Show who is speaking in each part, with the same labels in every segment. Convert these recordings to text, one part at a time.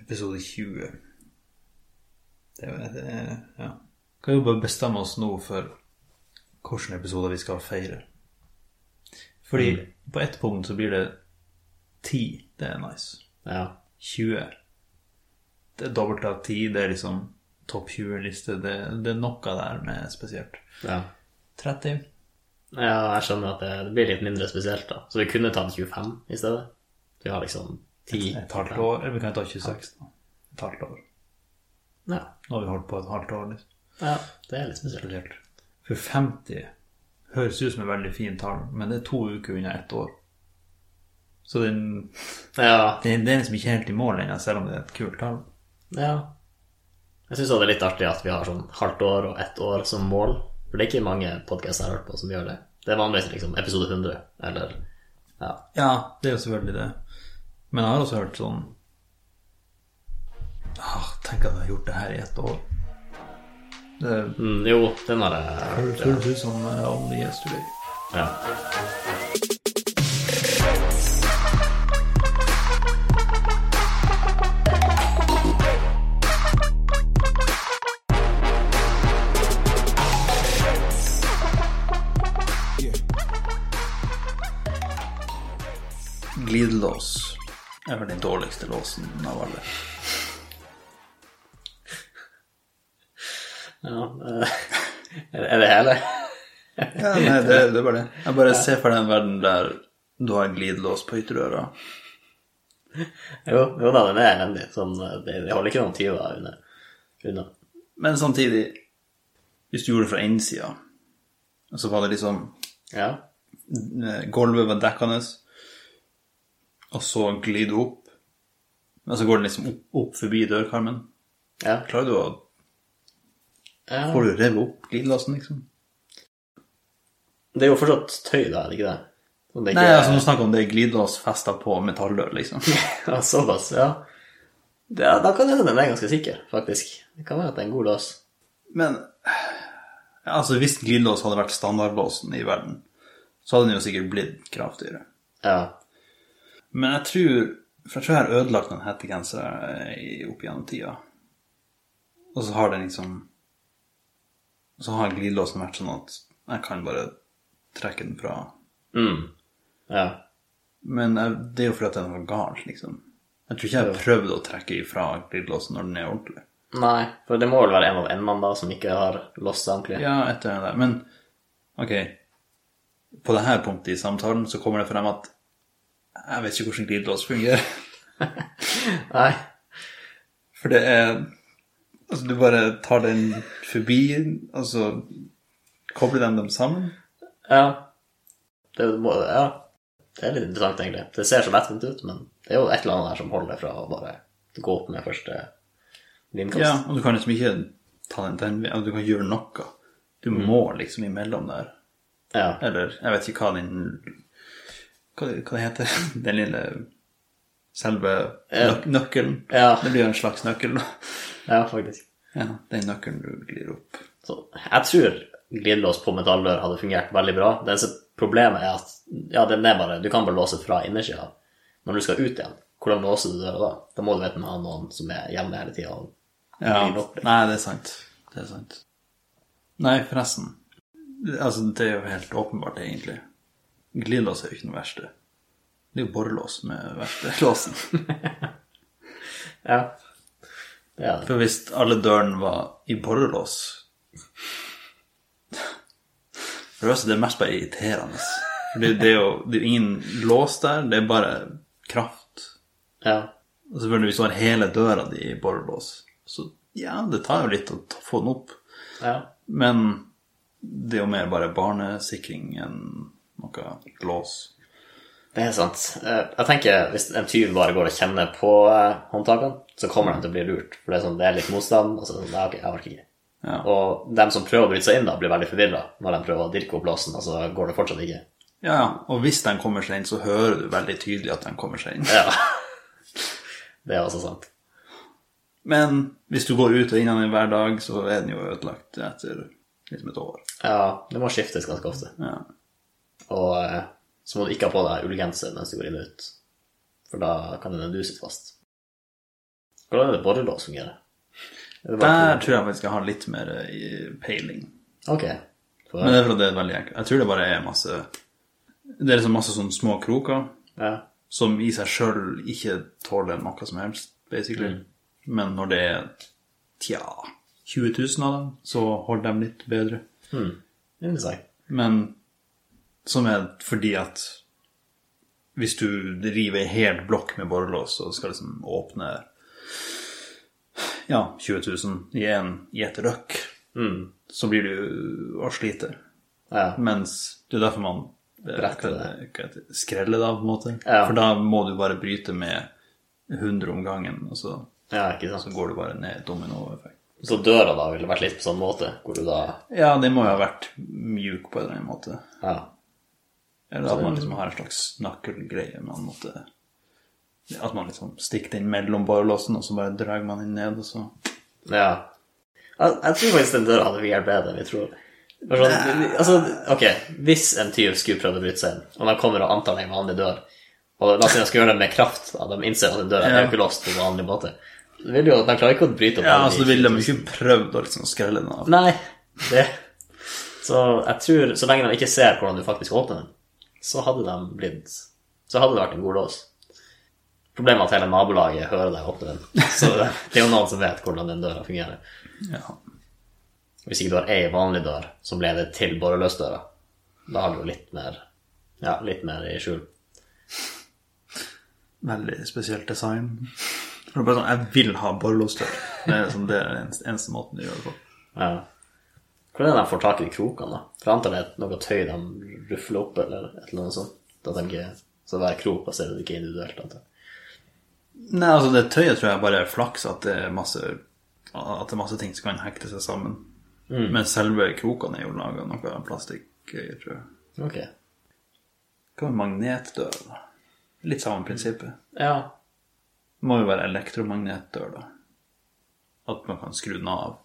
Speaker 1: episode 20. Det er, det er, ja. Kan jo bare bestemme oss nå for hvilken episode vi skal feire. Fordi på ett punkt så blir det 10. Det er nice.
Speaker 2: Ja.
Speaker 1: 20. Det er dobbelt av 10. Det er liksom topp 20-liste. Det, det er noe der med spesielt.
Speaker 2: ja.
Speaker 1: 30.
Speaker 2: Ja, jeg skjønner at det, det blir litt mindre spesielt, da. Så vi kunne tatt 25 i stedet. Vi har liksom 10
Speaker 1: Et halvt år. Eller vi kan ta 26, da. Et halvt år.
Speaker 2: Ja.
Speaker 1: Nå har vi holdt på et halvt år. Liksom.
Speaker 2: ja. Det er litt spesielt.
Speaker 1: Spesielt. For 50 høres ut som et veldig fint tall, men det er to uker unna ett år. Så det er en-
Speaker 2: Ja.
Speaker 1: det er en del som ikke er helt i mål ennå, selv om det er et kult tall.
Speaker 2: ja. Jeg syns det er litt artig at vi har sånn halvt år og ett år som mål. For det er ikke mange podkaster jeg har hørt på som gjør det. Det er vanligvis liksom episode 100 eller ja.
Speaker 1: Ja, det er jo selvfølgelig det. Men jeg har også hørt sånn ah, Tenk at jeg har gjort det her i ett år. Det
Speaker 2: Mm, jo, den har jeg hørt.
Speaker 1: høres ut som eh, only yesterday.
Speaker 2: Ja. ja.
Speaker 1: Glidelås er vel den dårligste låsen av alle.
Speaker 2: Ja, eh, er det hele?
Speaker 1: Ja, nei, det, det er bare det. Jeg bare ser for deg en verden der du har en glidelås på ytterdøra.
Speaker 2: Jo, jo da, den er elendig. Sånn, eh, det, det holder ikke noen tyver unna. unna.
Speaker 1: Men samtidig, hvis du gjorde det fra innsida, så var det liksom
Speaker 2: Ja.
Speaker 1: eh, Gulvet var dekkende, og så glir du opp. Men så går den liksom opp, opp forbi dørkarmen.
Speaker 2: ja.
Speaker 1: Klarer du å
Speaker 2: ja.
Speaker 1: Får du revet opp glidelåsen, liksom?
Speaker 2: Det er jo fortsatt tøy, da, er det ikke det? Om det ikke
Speaker 1: Nei,
Speaker 2: er-
Speaker 1: altså, nå snakker jeg om det er glidelås festa på metalldør, liksom.
Speaker 2: ja, Såpass, ja. Det, ja, da kan det hende den er ganske sikker, faktisk. Det kan være at det er en god lås.
Speaker 1: Men ja, altså, hvis glidelås hadde vært standardlåsen i verden, så hadde den jo sikkert blitt kraftigere.
Speaker 2: Ja.
Speaker 1: Men jeg tror For jeg tror jeg har ødelagt noen hettegensere eh, i- opp gjennom tida. Og så har den liksom Så har glidelåsen vært sånn at jeg kan bare trekke den fra.
Speaker 2: Mm. Ja.
Speaker 1: Men jeg, det er jo fordi at det er noe galt, liksom. Jeg tror ikke jeg har prøvd å trekke ifra glidelåsen når den er ordentlig.
Speaker 2: Nei, for det må vel være en av endene da som ikke har låst seg ordentlig.
Speaker 1: Ja, etter det der. Men ok, på det her punktet i samtalen så kommer det frem at jeg vet ikke hvordan glidelås fungerer.
Speaker 2: Nei.
Speaker 1: For det er Altså, du bare tar den forbi, og så kobler de dem sammen.
Speaker 2: Ja. Det, må, ja. det er litt interessant, egentlig. Det ser så lettvint ut, men det er jo et eller annet her som holder fra å bare gå opp med første limkast.
Speaker 1: Ja, og du kan liksom ikke ta den den veien. altså, Du kan gjøre noe. Du må liksom imellom der.
Speaker 2: Ja.
Speaker 1: Eller jeg vet ikke hva den Hva, hva det heter Den lille selve nøk nøkkelen.
Speaker 2: Ja.
Speaker 1: Det blir jo en slags nøkkel. da.
Speaker 2: ja, faktisk.
Speaker 1: Ja, den nøkkelen du glir opp.
Speaker 2: Så jeg tror glidelås på metalldør hadde fungert veldig bra. Det eneste problemet er at ja, den er bare, du kan bare låse fra innersida. Når du skal ut igjen, hvordan låser du døra da? Da må du enten ha noen som er hjemme hele tida.
Speaker 1: Ja.
Speaker 2: Blir nok det.
Speaker 1: Nei, det er sant. Det er sant. Nei, forresten. Altså, det er jo helt åpenbart, egentlig. Glidelås er jo ikke noe verste. Det er jo borrelås som er verste låsen.
Speaker 2: Ja. Det er det.
Speaker 1: For hvis alle dørene var i borrelås For det første, det er mest bare irriterende. For Det, det er jo det er jo ingen lås der, det er bare kraft.
Speaker 2: Ja.
Speaker 1: Og selvfølgelig, hvis du har hele døra di i borrelås, så ja, det tar jo litt å ta- få den opp.
Speaker 2: ja.
Speaker 1: Men det er jo mer bare barnesikring enn noe lås.
Speaker 2: Det er sant. Eh, Jeg tenker hvis en tyv bare går og kjenner på eh, håndtakene, så kommer de til å bli lurt. For det er, sånn, det er litt motstand, og så er det sånn, nei, ok, jeg orker ikke.
Speaker 1: Ja.
Speaker 2: Og de som prøver å bryte seg inn, da, blir veldig forvirra når de prøver å dirke opp låsen, og så går det fortsatt ikke.
Speaker 1: Ja, og hvis den kommer seg inn, så hører du veldig tydelig at den kommer seg inn.
Speaker 2: Ja. Det er også sant.
Speaker 1: Men hvis du går ut og inn i den hver dag, så er den jo ødelagt etter liksom et år.
Speaker 2: Ja, det må skiftes ganske ofte.
Speaker 1: Ja.
Speaker 2: Og eh, så må du ikke ha på deg ullgenser mens du går inn og ut, for da kan den duse fast. Hvordan er det borrelås fungerer? Er det bare-
Speaker 1: Der tror jeg faktisk jeg har litt mer eh, peiling.
Speaker 2: Ok.
Speaker 1: Men det
Speaker 2: For,
Speaker 1: er fordi det er veldig enkelt. Jeg tror det bare er masse Det er liksom masse sånne små kroker
Speaker 2: ja.
Speaker 1: som i seg sjøl ikke tåler noe som helst, basically. Men når det er tja 20 000 av dem, så holder de litt bedre.
Speaker 2: Interessant.
Speaker 1: Men som er fordi at hvis du river ei hel blokk med borrelås og skal liksom åpne ja, 20 000 i en i et røkk,
Speaker 2: Mm.
Speaker 1: så blir du å slite.
Speaker 2: Ja.
Speaker 1: Mens det er derfor man eh,
Speaker 2: Bretter det.
Speaker 1: hva heter det? skreller det av, på en måte.
Speaker 2: Ja.
Speaker 1: For da må du bare bryte med 100 om gangen, og så,
Speaker 2: ja, ikke
Speaker 1: så
Speaker 2: sant.
Speaker 1: går du bare ned dominoeffekt.
Speaker 2: Så døra da ville vært litt på sånn måte, hvor du da
Speaker 1: Ja, det må jo ha vært mjuk på en eller annen måte.
Speaker 2: Ja.
Speaker 1: Eller at man liksom har en slags snakkelgreie man måtte At man liksom stikker den mellom borrelåsen, og så bare drar man den ned, og så
Speaker 2: ja. Jeg, jeg tror faktisk den døra hadde fungert bedre enn vi tror. Det var Sånn, altså, ok, hvis en tyv skulle prøvd å bryte seg inn, og de kommer og antar en vanlig dør Og la oss si de skal gjøre det med kraft, da de innser at den døra er jo ikke låst på vanlig måte det vil jo, De klarer ikke å bryte opp
Speaker 1: Ja,
Speaker 2: alle de
Speaker 1: altså, ville
Speaker 2: 20 000.
Speaker 1: de ikke prøvd å liksom skrelle den av?
Speaker 2: Nei, det Så jeg tror, så lenge de ikke ser hvordan du faktisk åpner den, så hadde de blitt Så hadde det vært en god lås. Problemet er at hele nabolaget hører deg åpne den. Så det det er jo noen som vet hvordan den døra fungerer.
Speaker 1: Ja.
Speaker 2: Hvis ikke du har ei vanlig dør som leder til borreløsdøra, da har du jo litt mer Ja, litt mer i skjul.
Speaker 1: Veldig spesielt design. For det er bare sånn, Jeg vil ha borrelåsdør. Det er sånn, det er den eneste måten du gjør det på.
Speaker 2: Ja. Hvordan er det de får tak i de krokene, da? For jeg antar det er noe tøy de rufler opp, eller et eller annet sånt. Da tenker jeg, Så hver krok baserer det ikke individuelt, antar jeg.
Speaker 1: Nei, altså Det tøyet tror jeg bare er flaks, at det er masse, at det er masse ting som kan hekte seg sammen. Men selve krokene er jo laga av noe plastikkgreier, tror jeg.
Speaker 2: Ok.
Speaker 1: Hva med magnetdør? da? Litt samme prinsippet.
Speaker 2: Ja.
Speaker 1: Det må jo være elektromagnetdør, da. At man kan skru den av.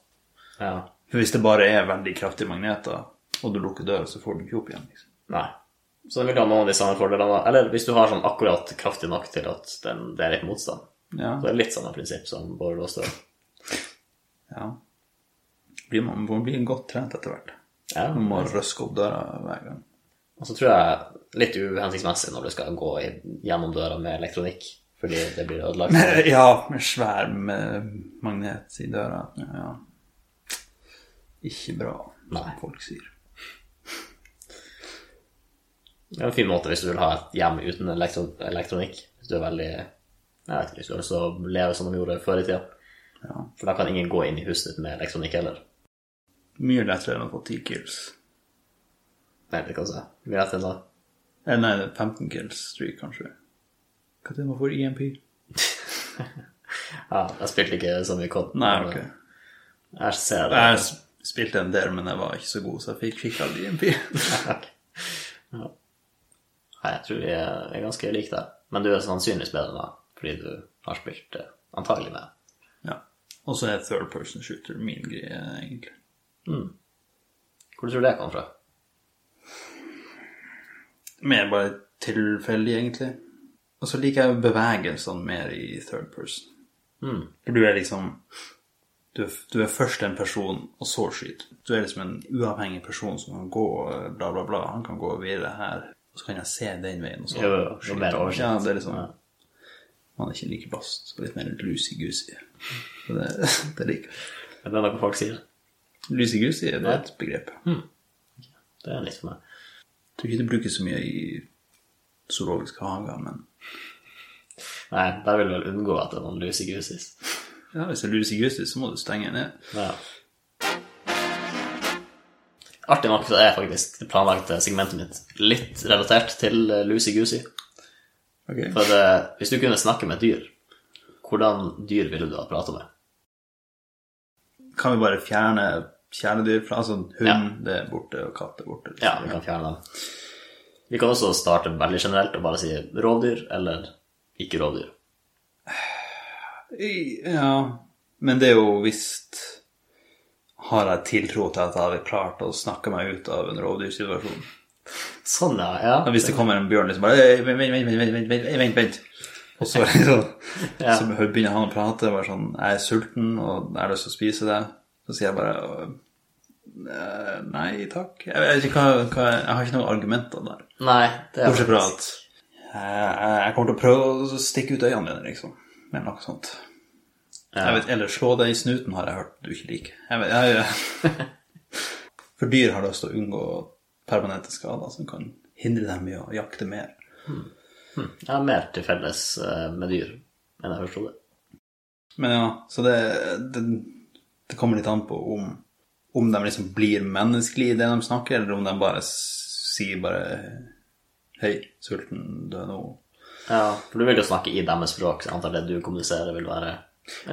Speaker 2: ja.
Speaker 1: For hvis det bare er veldig kraftige magneter, og du lukker døra, så får du ikke opp igjen. liksom.
Speaker 2: Nei. Så den vil ha noen av de samme fordelene. Eller hvis du har sånn akkurat kraftig nok til at den, det er litt motstand.
Speaker 1: Ja.
Speaker 2: Så det er litt samme prinsipp som borrelåsdør.
Speaker 1: ja. Blir man, man blir godt trent etter hvert.
Speaker 2: Ja.
Speaker 1: Man må røske opp døra hver gang.
Speaker 2: Og så tror jeg litt uhensiktsmessig når du skal gå i, gjennom døra med elektronikk, fordi det blir ødelagt.
Speaker 1: Ja, med svær med magnet i døra. Ja. Ikke bra,
Speaker 2: Nei.
Speaker 1: som folk sier.
Speaker 2: Det er en fin måte hvis du vil ha et hjem uten elektro elektronikk. Hvis du er veldig Jeg vet ikke, hvis du har lyst til å leve som de gjorde før i tida.
Speaker 1: Ja.
Speaker 2: For da kan ingen gå inn i huset ditt med elektronikk heller.
Speaker 1: Mye lettere enn å få 10 kills.
Speaker 2: Nei, det kan jeg si. Mye rett enn da.
Speaker 1: Eh, nei, 15 kills streak, kanskje. Hva er det man får i E EMP?
Speaker 2: Ja, jeg spilte ikke så mye kod.
Speaker 1: Nei,
Speaker 2: men
Speaker 1: ok.
Speaker 2: Jeg ser det.
Speaker 1: Jeg s- spilte en del, men jeg var ikke så god, så jeg fikk, fikk aldri E EMP.
Speaker 2: Takk. Ja. Nei, jeg tror vi er er ganske like der. Men du er sannsynligvis bedre enn meg, fordi du har spilt det antagelig med.
Speaker 1: ja. Og så er third person shooter min greie, egentlig.
Speaker 2: Hvor tror du det kom fra?
Speaker 1: Mer bare tilfeldig, egentlig. Og så liker jeg bevegelsene mer i third person.
Speaker 2: Mm.
Speaker 1: For du er liksom du er, du er først en person, og så skyter. Du er liksom en uavhengig person som kan gå eh, bla, bla, bla. Han kan gå og virre her, og så kan jeg se den veien, og så
Speaker 2: Jo, jo, jo mer oversikt.
Speaker 1: Ja, det er liksom
Speaker 2: Ja.
Speaker 1: Man er ikke like bast. Litt mer lucy-goosey. Så Det, det liker jeg.
Speaker 2: Er det noe folk sier?
Speaker 1: Lucy-goosey det er et begrep.
Speaker 2: Det er litt for meg.
Speaker 1: Jeg tror ikke det brukes så mye i zoologiske hager, men
Speaker 2: Nei, der vil du vel unngå at det er noen lusegusis.
Speaker 1: ja, hvis det er lucy-goosey, så må du stenge ned.
Speaker 2: Ja. Artig nok så er faktisk det planlagte segmentet mitt litt relatert til lusegusi.
Speaker 1: Ok.
Speaker 2: For eh, hvis du kunne snakke med et dyr, hvordan dyr ville du ha pratet med?
Speaker 1: Kan vi bare fjerne kjæledyr fra Altså hund,
Speaker 2: Ja.
Speaker 1: det er borte, og katt er borte. liksom.
Speaker 2: Ja, vi kan fjerne dem. Vi kan også starte veldig generelt og bare si rovdyr eller ikke rovdyr.
Speaker 1: I- Ja, men det er jo visst Har jeg tiltro til at jeg hadde klart å snakke meg ut av en rovdyrsituasjon?
Speaker 2: Sånn, ja. ja.
Speaker 1: Hvis det kommer en bjørn liksom bare «Ei, Vent, vent, vent, vent, vent, vent, vent, vent. Og så, liksom,
Speaker 2: Ja.
Speaker 1: så begynner han å prate, bare sånn Jeg er sulten, og jeg har lyst til å spise det. Så sier jeg bare «Øh, Nei takk. Jeg, vet ikke hva, hva, jeg har ikke noen argumenter der.
Speaker 2: Nei, det er
Speaker 1: Bortsett fra at jeg, jeg kommer til å prøve å stikke ut øynene dine, liksom. Eller noe sånt.
Speaker 2: Ja.
Speaker 1: Jeg vet, eller slå deg i snuten har jeg hørt du ikke liker. Jeg vet, jeg, for dyr har lyst til å unngå permanente skader som kan hindre dem i å jakte mer.
Speaker 2: Jeg har mer til felles eh, med dyr enn jeg forsto det.
Speaker 1: Men ja, så det, det, det kommer litt an på om, om de liksom blir menneskelige i det de snakker, eller om de bare s- sier bare Hei, sulten, dø nå.
Speaker 2: Ja, for du vil jo snakke i deres språk, så jeg antar det du kommuniserer vil være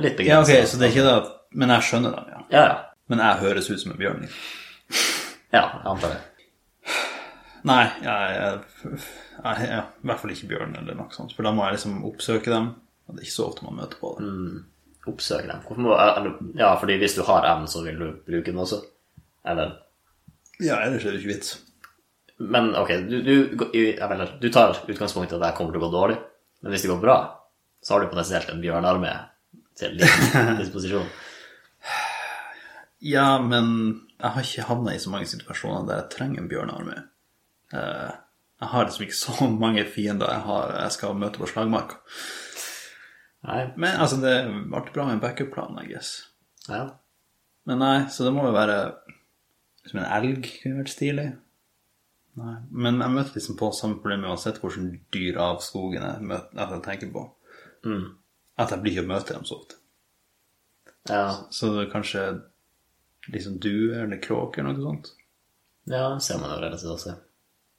Speaker 2: litt
Speaker 1: Ja, ok,
Speaker 2: begrenset.
Speaker 1: så det er ikke det at Men jeg skjønner dem, ja.
Speaker 2: Ja, ja.
Speaker 1: Men jeg høres ut som en bjørn. liksom.
Speaker 2: Ja, jeg antar det.
Speaker 1: Nei, jeg jeg- jeg er i hvert fall ikke bjørn eller noe sånt. For da må jeg liksom oppsøke dem. Og det er ikke så ofte man møter på det.
Speaker 2: Oppsøk dem. Hvorfor må, eller, ja, fordi hvis du har evnen, så vil du bruke den også. Eller
Speaker 1: Ja, ellers er det ikke vits.
Speaker 2: Men ok, du, du, går- i- jeg mener, du tar utgangspunkt i at det her kommer til å gå dårlig. Men hvis det går bra, så har du potensielt en bjørnarmé til din disposisjon.
Speaker 1: Ja, men jeg har ikke havna i så mange situasjoner der jeg trenger en bjørnearmé. Eh, Jeg har liksom ikke så mange fiender jeg, har, jeg skal møte på slagmarka.
Speaker 2: Nei,
Speaker 1: Men altså, det er alltid bra med en backup-plan, I guess.
Speaker 2: ja.
Speaker 1: Men nei, så det må jo være Som en elg kunne vært stilig. Nei, men jeg møter liksom på samme problem uansett hvordan dyr av skogen jeg, møter, at jeg tenker på.
Speaker 2: Mm.
Speaker 1: At jeg blir ikke å møte dem så ofte.
Speaker 2: Ja,
Speaker 1: Så det er kanskje liksom due eller kråke eller noe sånt.
Speaker 2: ja det ser man jo relativt også.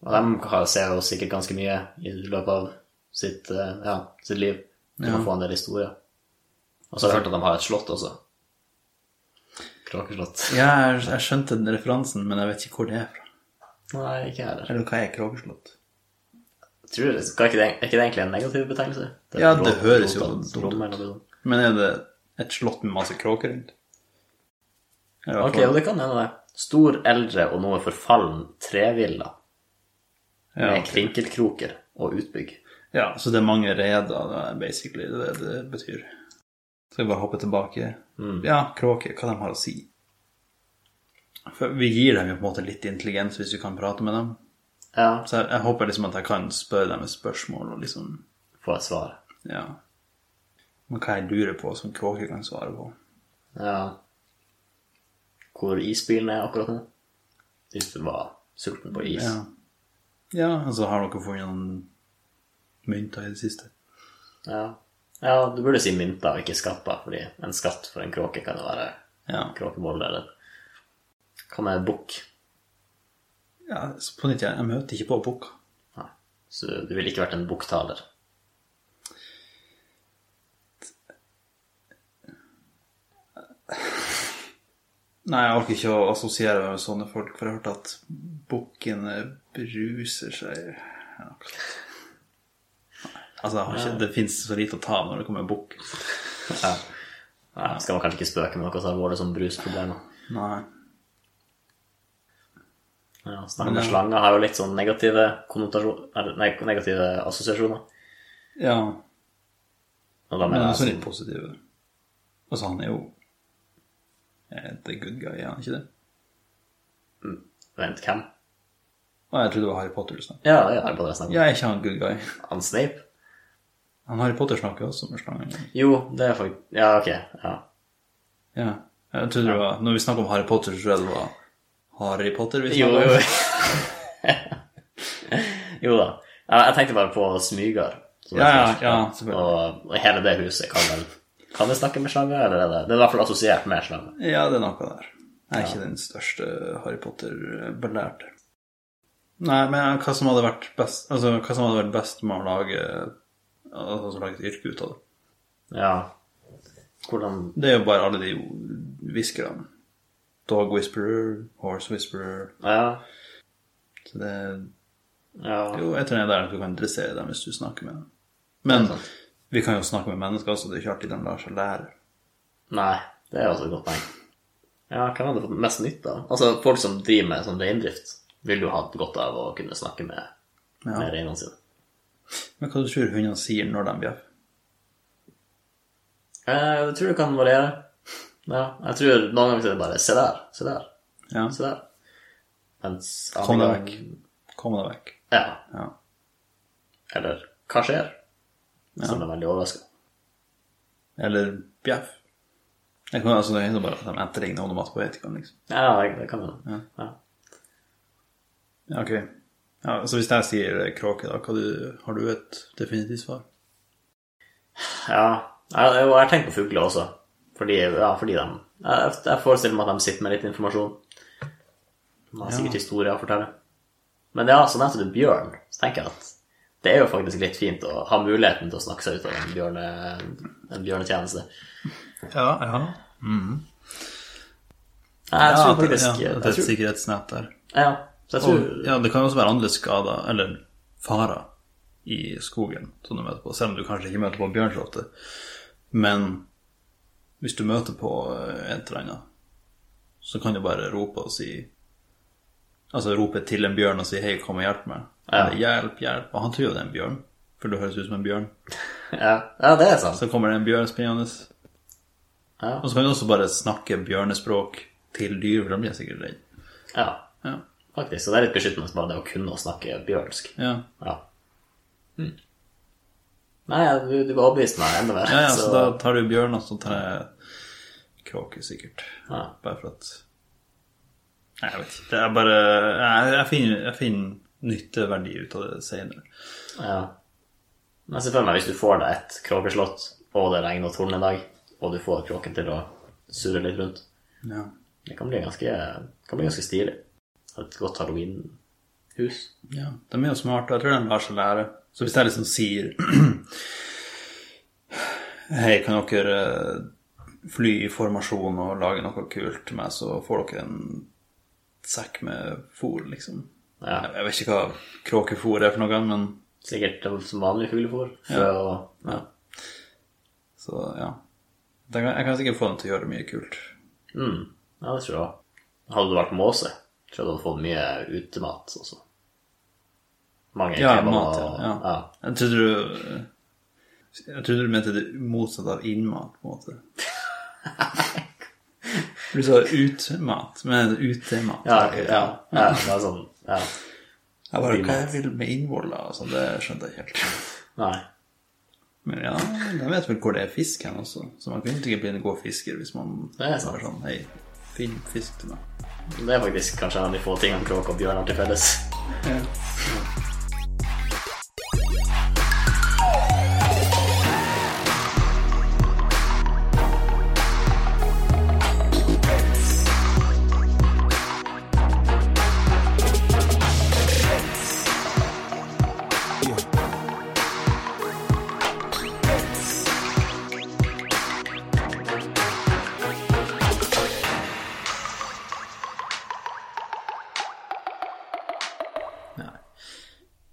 Speaker 2: Og de har, ser jo sikkert ganske mye i løpet av sitt, eh, ja, sitt liv. Du kan
Speaker 1: Ja.
Speaker 2: få en del historier. Og så har jeg hørt at de har et slott også. Kråkeslott.
Speaker 1: Ja, jeg, jeg skjønte den referansen, men jeg vet ikke hvor det er fra.
Speaker 2: Nei, ikke jeg heller.
Speaker 1: Eller hva er kråkeslott?
Speaker 2: Tror du, skal ikke det, er ikke det egentlig en negativ betegnelse? er
Speaker 1: Ja,
Speaker 2: rå-
Speaker 1: det høres jo
Speaker 2: rotet-
Speaker 1: dumt ut.
Speaker 2: romme eller noe sånt.
Speaker 1: Men er det et slott med masse kråker rundt? Eller i hvert
Speaker 2: Ok,
Speaker 1: fall-
Speaker 2: og det kan hende det. Stor, eldre og noe forfallen trevilla
Speaker 1: ja,
Speaker 2: med
Speaker 1: ok.
Speaker 2: krinkelkroker og utbygg.
Speaker 1: ja, så det er mange reder, det er basically det er det det betyr. Skal vi bare hoppe tilbake? Ja, kråker, hva de har å si. For vi gir dem jo på en måte litt intelligens hvis vi kan prate med dem.
Speaker 2: Ja,
Speaker 1: Så jeg, jeg håper liksom at jeg kan spørre dem et spørsmål og liksom
Speaker 2: få et svar.
Speaker 1: Ja. Men hva jeg lurer på, som kråker kan svare på.
Speaker 2: Ja. Hvor isbilen er akkurat nå. Hvis du var sulten på is.
Speaker 1: Ja. ja, altså har dere funnet noen mynter i det siste?
Speaker 2: Ja. ja, du burde si mynta og ikke skatta, fordi en skatt for en kråke kan jo være
Speaker 1: Ja.
Speaker 2: kråkebolle eller Hva med bukk?
Speaker 1: ja så på nytt, jeg, jeg møter ikke på boka.
Speaker 2: Nei. Så du ville ikke vært en bukktaler?
Speaker 1: Nei, jeg orker ikke å assosiere meg med sånne folk, for jeg har hørt at bukkene bruser seg Ja, noe sånt. Altså, jeg har ikke, det fins så lite å ta av når det kommer bukk.
Speaker 2: Nei, skal man kanskje ikke spøke med noe så alvorlig som brusproblemer?
Speaker 1: Nei.
Speaker 2: Ja, Snakke med slanger har jo litt sånn negative, konnotasjon- eller, nei, negative assosiasjoner.
Speaker 1: Ja,
Speaker 2: Og da
Speaker 1: men
Speaker 2: mener jeg
Speaker 1: også litt
Speaker 2: sånn,
Speaker 1: positive. Altså, han er jo eh, the good guy, er han ikke det?
Speaker 2: vent, hvem?
Speaker 1: Å, jeg trodde det var Harry Potter du snakket om.
Speaker 2: Ja, ja, Harry Potter jeg snakker om.
Speaker 1: Ja, er ikke han good guy?
Speaker 2: Han Snape?
Speaker 1: Han Harry Potter snakker også med slangen.
Speaker 2: Jo, det er faktisk Ja, ok. Ja.
Speaker 1: Ja. Jeg trodde det var, når vi snakker om Harry Potter, så tror jeg det var Harry Potter vi
Speaker 2: Jo,
Speaker 1: snakker om.
Speaker 2: jo. jo da. Ja, Jeg tenkte bare på Smygar. som
Speaker 1: Ja,
Speaker 2: er
Speaker 1: ja,
Speaker 2: først.
Speaker 1: ja, selvfølgelig.
Speaker 2: Og og hele det huset kan vel Kan vi snakke med slanger, eller er det Det er i hvert fall assosiert med slanger.
Speaker 1: Ja, det er noe der. Jeg er ikke den største Harry Potter-belærte. Nei, men hva som hadde vært best, altså, hva som hadde vært best med å lage altså, å lage et yrke ut av det?
Speaker 2: Ja. Hvordan
Speaker 1: Det er jo bare alle de hviskerne. Dog whisperer, horse whisperer
Speaker 2: Ja.
Speaker 1: Så det er
Speaker 2: ja.
Speaker 1: jo et eller annet der at du kan interessere dem hvis du snakker med dem. Men vi kan jo snakke med mennesker også, det er ikke alltid de lar seg lære.
Speaker 2: Nei, det er også et godt poeng. Ja, hvem hadde fått mest nytte av? Altså, folk som driver med sånn reindrift, vil jo ha godt av å kunne snakke med,
Speaker 1: Ja.
Speaker 2: med reinene sine.
Speaker 1: Men hva du tror hundene sier når de bjeffer?
Speaker 2: Eh, Jeg tror det kan variere. Ja, jeg tror noen ganger så er det bare Se der, se der,
Speaker 1: Ja.
Speaker 2: se der. Altså, Mens
Speaker 1: Kom
Speaker 2: andre
Speaker 1: deg
Speaker 2: gang
Speaker 1: vekk. Kom deg vekk.
Speaker 2: Ja.
Speaker 1: Ja.
Speaker 2: Eller hva skjer? Som er veldig overraska.
Speaker 1: Eller bjeff. Det kan altså det er jo bare at de etterligner onomatopoetikaen, liksom.
Speaker 2: Ja, det- det kan hende. Ja.
Speaker 1: Ja, ok. Ja, så hvis jeg sier eh, kråke, da, hva du, har du et definitivt svar?
Speaker 2: ja. Jeg, jeg, jeg tenker på fugler også. Fordi, ja, fordi de jeg, jeg forestiller meg at de sitter med litt informasjon. De har sikkert historier å fortelle. Men ja, så nevnte du bjørn. Så tenker jeg at det er jo faktisk litt fint å ha muligheten til å snakke seg ut av en, bjørne, en bjørnetjeneste.
Speaker 1: Ja, ja.
Speaker 2: Jeg tror
Speaker 1: for-
Speaker 2: faktisk
Speaker 1: ja,
Speaker 2: jeg
Speaker 1: at det er et
Speaker 2: tror,
Speaker 1: sikkerhetsnett der.
Speaker 2: ja, så jeg tror,
Speaker 1: Og, ja, det kan jo også være andre skader, eller farer, i skogen som du møter på. Selv om du kanskje ikke møter på en bjørn så ofte. Men hvis du møter på eh, et eller annet, så kan du bare rope og si Altså rope til en bjørn og si 'hei, kom og hjelp meg'.
Speaker 2: Ja.
Speaker 1: Eller 'hjelp, hjelp'. Og han tror jo det er en bjørn, for du høres ut som en bjørn.
Speaker 2: ja, ja, det er sant.
Speaker 1: Så kommer det en bjørn springende.
Speaker 2: Ja.
Speaker 1: Og så kan du også bare snakke bjørnespråk til dyr, for de blir sikkert redde.
Speaker 2: Ja,
Speaker 1: Ja.
Speaker 2: faktisk. Så det er litt beskyttende bare det å kunne å snakke bjørnsk.
Speaker 1: Ja.
Speaker 2: Ja.
Speaker 1: Hmm.
Speaker 2: Nei, du, du overbeviste meg enda mer.
Speaker 1: ja, ja, så da tar du bjørn, og så tar jeg kråke, sikkert.
Speaker 2: ja.
Speaker 1: Bare for at Nei, jeg vet ikke. Det er bare Jeg, jeg, finner, jeg finner nytteverdi ut av det senere.
Speaker 2: ja. Men se for meg hvis du får deg et kråkeslott, og det regner og torner en dag, og du får kråken til å surre litt rundt.
Speaker 1: Ja.
Speaker 2: Det kan bli ganske, kan bli ganske stilig. Et godt halloween-hus.
Speaker 1: Ja, de er jo smarte, og jeg tror de lar seg lære. Så hvis jeg liksom sier Hei, kan dere eh, fly i formasjon og lage noe kult til meg, så får dere en sekk med fôr, liksom.
Speaker 2: Ja.
Speaker 1: Jeg, jeg vet ikke hva kråkefôr er for noe, men
Speaker 2: Sikkert som vanlig fuglefôr. Ja. Og, ja.
Speaker 1: Så ja. Det kan- Jeg kan sikkert få dem til å gjøre mye kult.
Speaker 2: Mm. ja, det tror jeg også. Hadde du vært måse, tror jeg du hadde fått mye utemat også. Mange
Speaker 1: Ja,
Speaker 2: kebaber
Speaker 1: mat,
Speaker 2: og-
Speaker 1: ja. ja.
Speaker 2: ja.
Speaker 1: Jeg trodde du eh, Jeg trodde du mente det motsatte av innmat, på en måte. Du sa utmat, men utemat.
Speaker 2: Ja, ok, ja, ja, det er sånn ja.
Speaker 1: Jeg bare, Hva jeg vil med innvoller? Altså, det skjønte jeg ikke helt.
Speaker 2: Nei.
Speaker 1: Men ja, jeg vet vel hvor det er fisk hen også, så man kan jo sikkert bli en god fisker hvis man
Speaker 2: Det er sant.
Speaker 1: bare sånn Hei, finn fisk til meg.
Speaker 2: Det er faktisk kanskje en av de få tingene kråk og bjørn har til felles.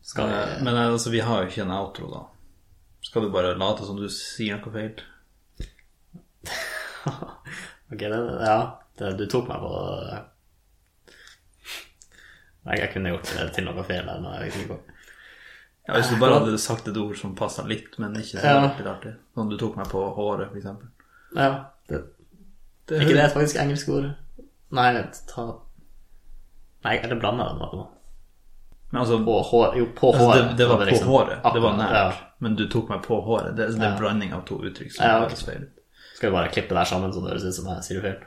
Speaker 2: Skal
Speaker 3: Eh,
Speaker 2: vi
Speaker 3: Men altså, vi har jo ikke en outro, da. Skal du bare late som du sier noe feil?
Speaker 2: Ok, det, ja. Det, du tok meg på Nei, jeg kunne gjort det til noe feil her, men jeg vet ikke på.
Speaker 3: Ja, Hvis du bare hadde sagt et ord som passa litt, men ikke så
Speaker 2: Ja.
Speaker 3: veldig artig. Sånn du tok meg på håret, for eksempel.
Speaker 2: Ja. Det,
Speaker 3: Det,
Speaker 2: ikke det er faktisk engelsk ord. Nei, vent, ta Nei, eller blanda jeg det nå?
Speaker 3: Men altså,
Speaker 2: På hår Jo, på
Speaker 3: altså
Speaker 2: håret.
Speaker 3: det, det var på
Speaker 2: liksom-
Speaker 3: håret. Det var nært.
Speaker 2: Ja.
Speaker 3: Men du tok meg på håret. Det, det er en blanding av to uttrykk som
Speaker 2: Ja, ok.
Speaker 3: høres feil ut.
Speaker 2: Skal vi bare klippe det her sammen så det høres ut som jeg sier det feil?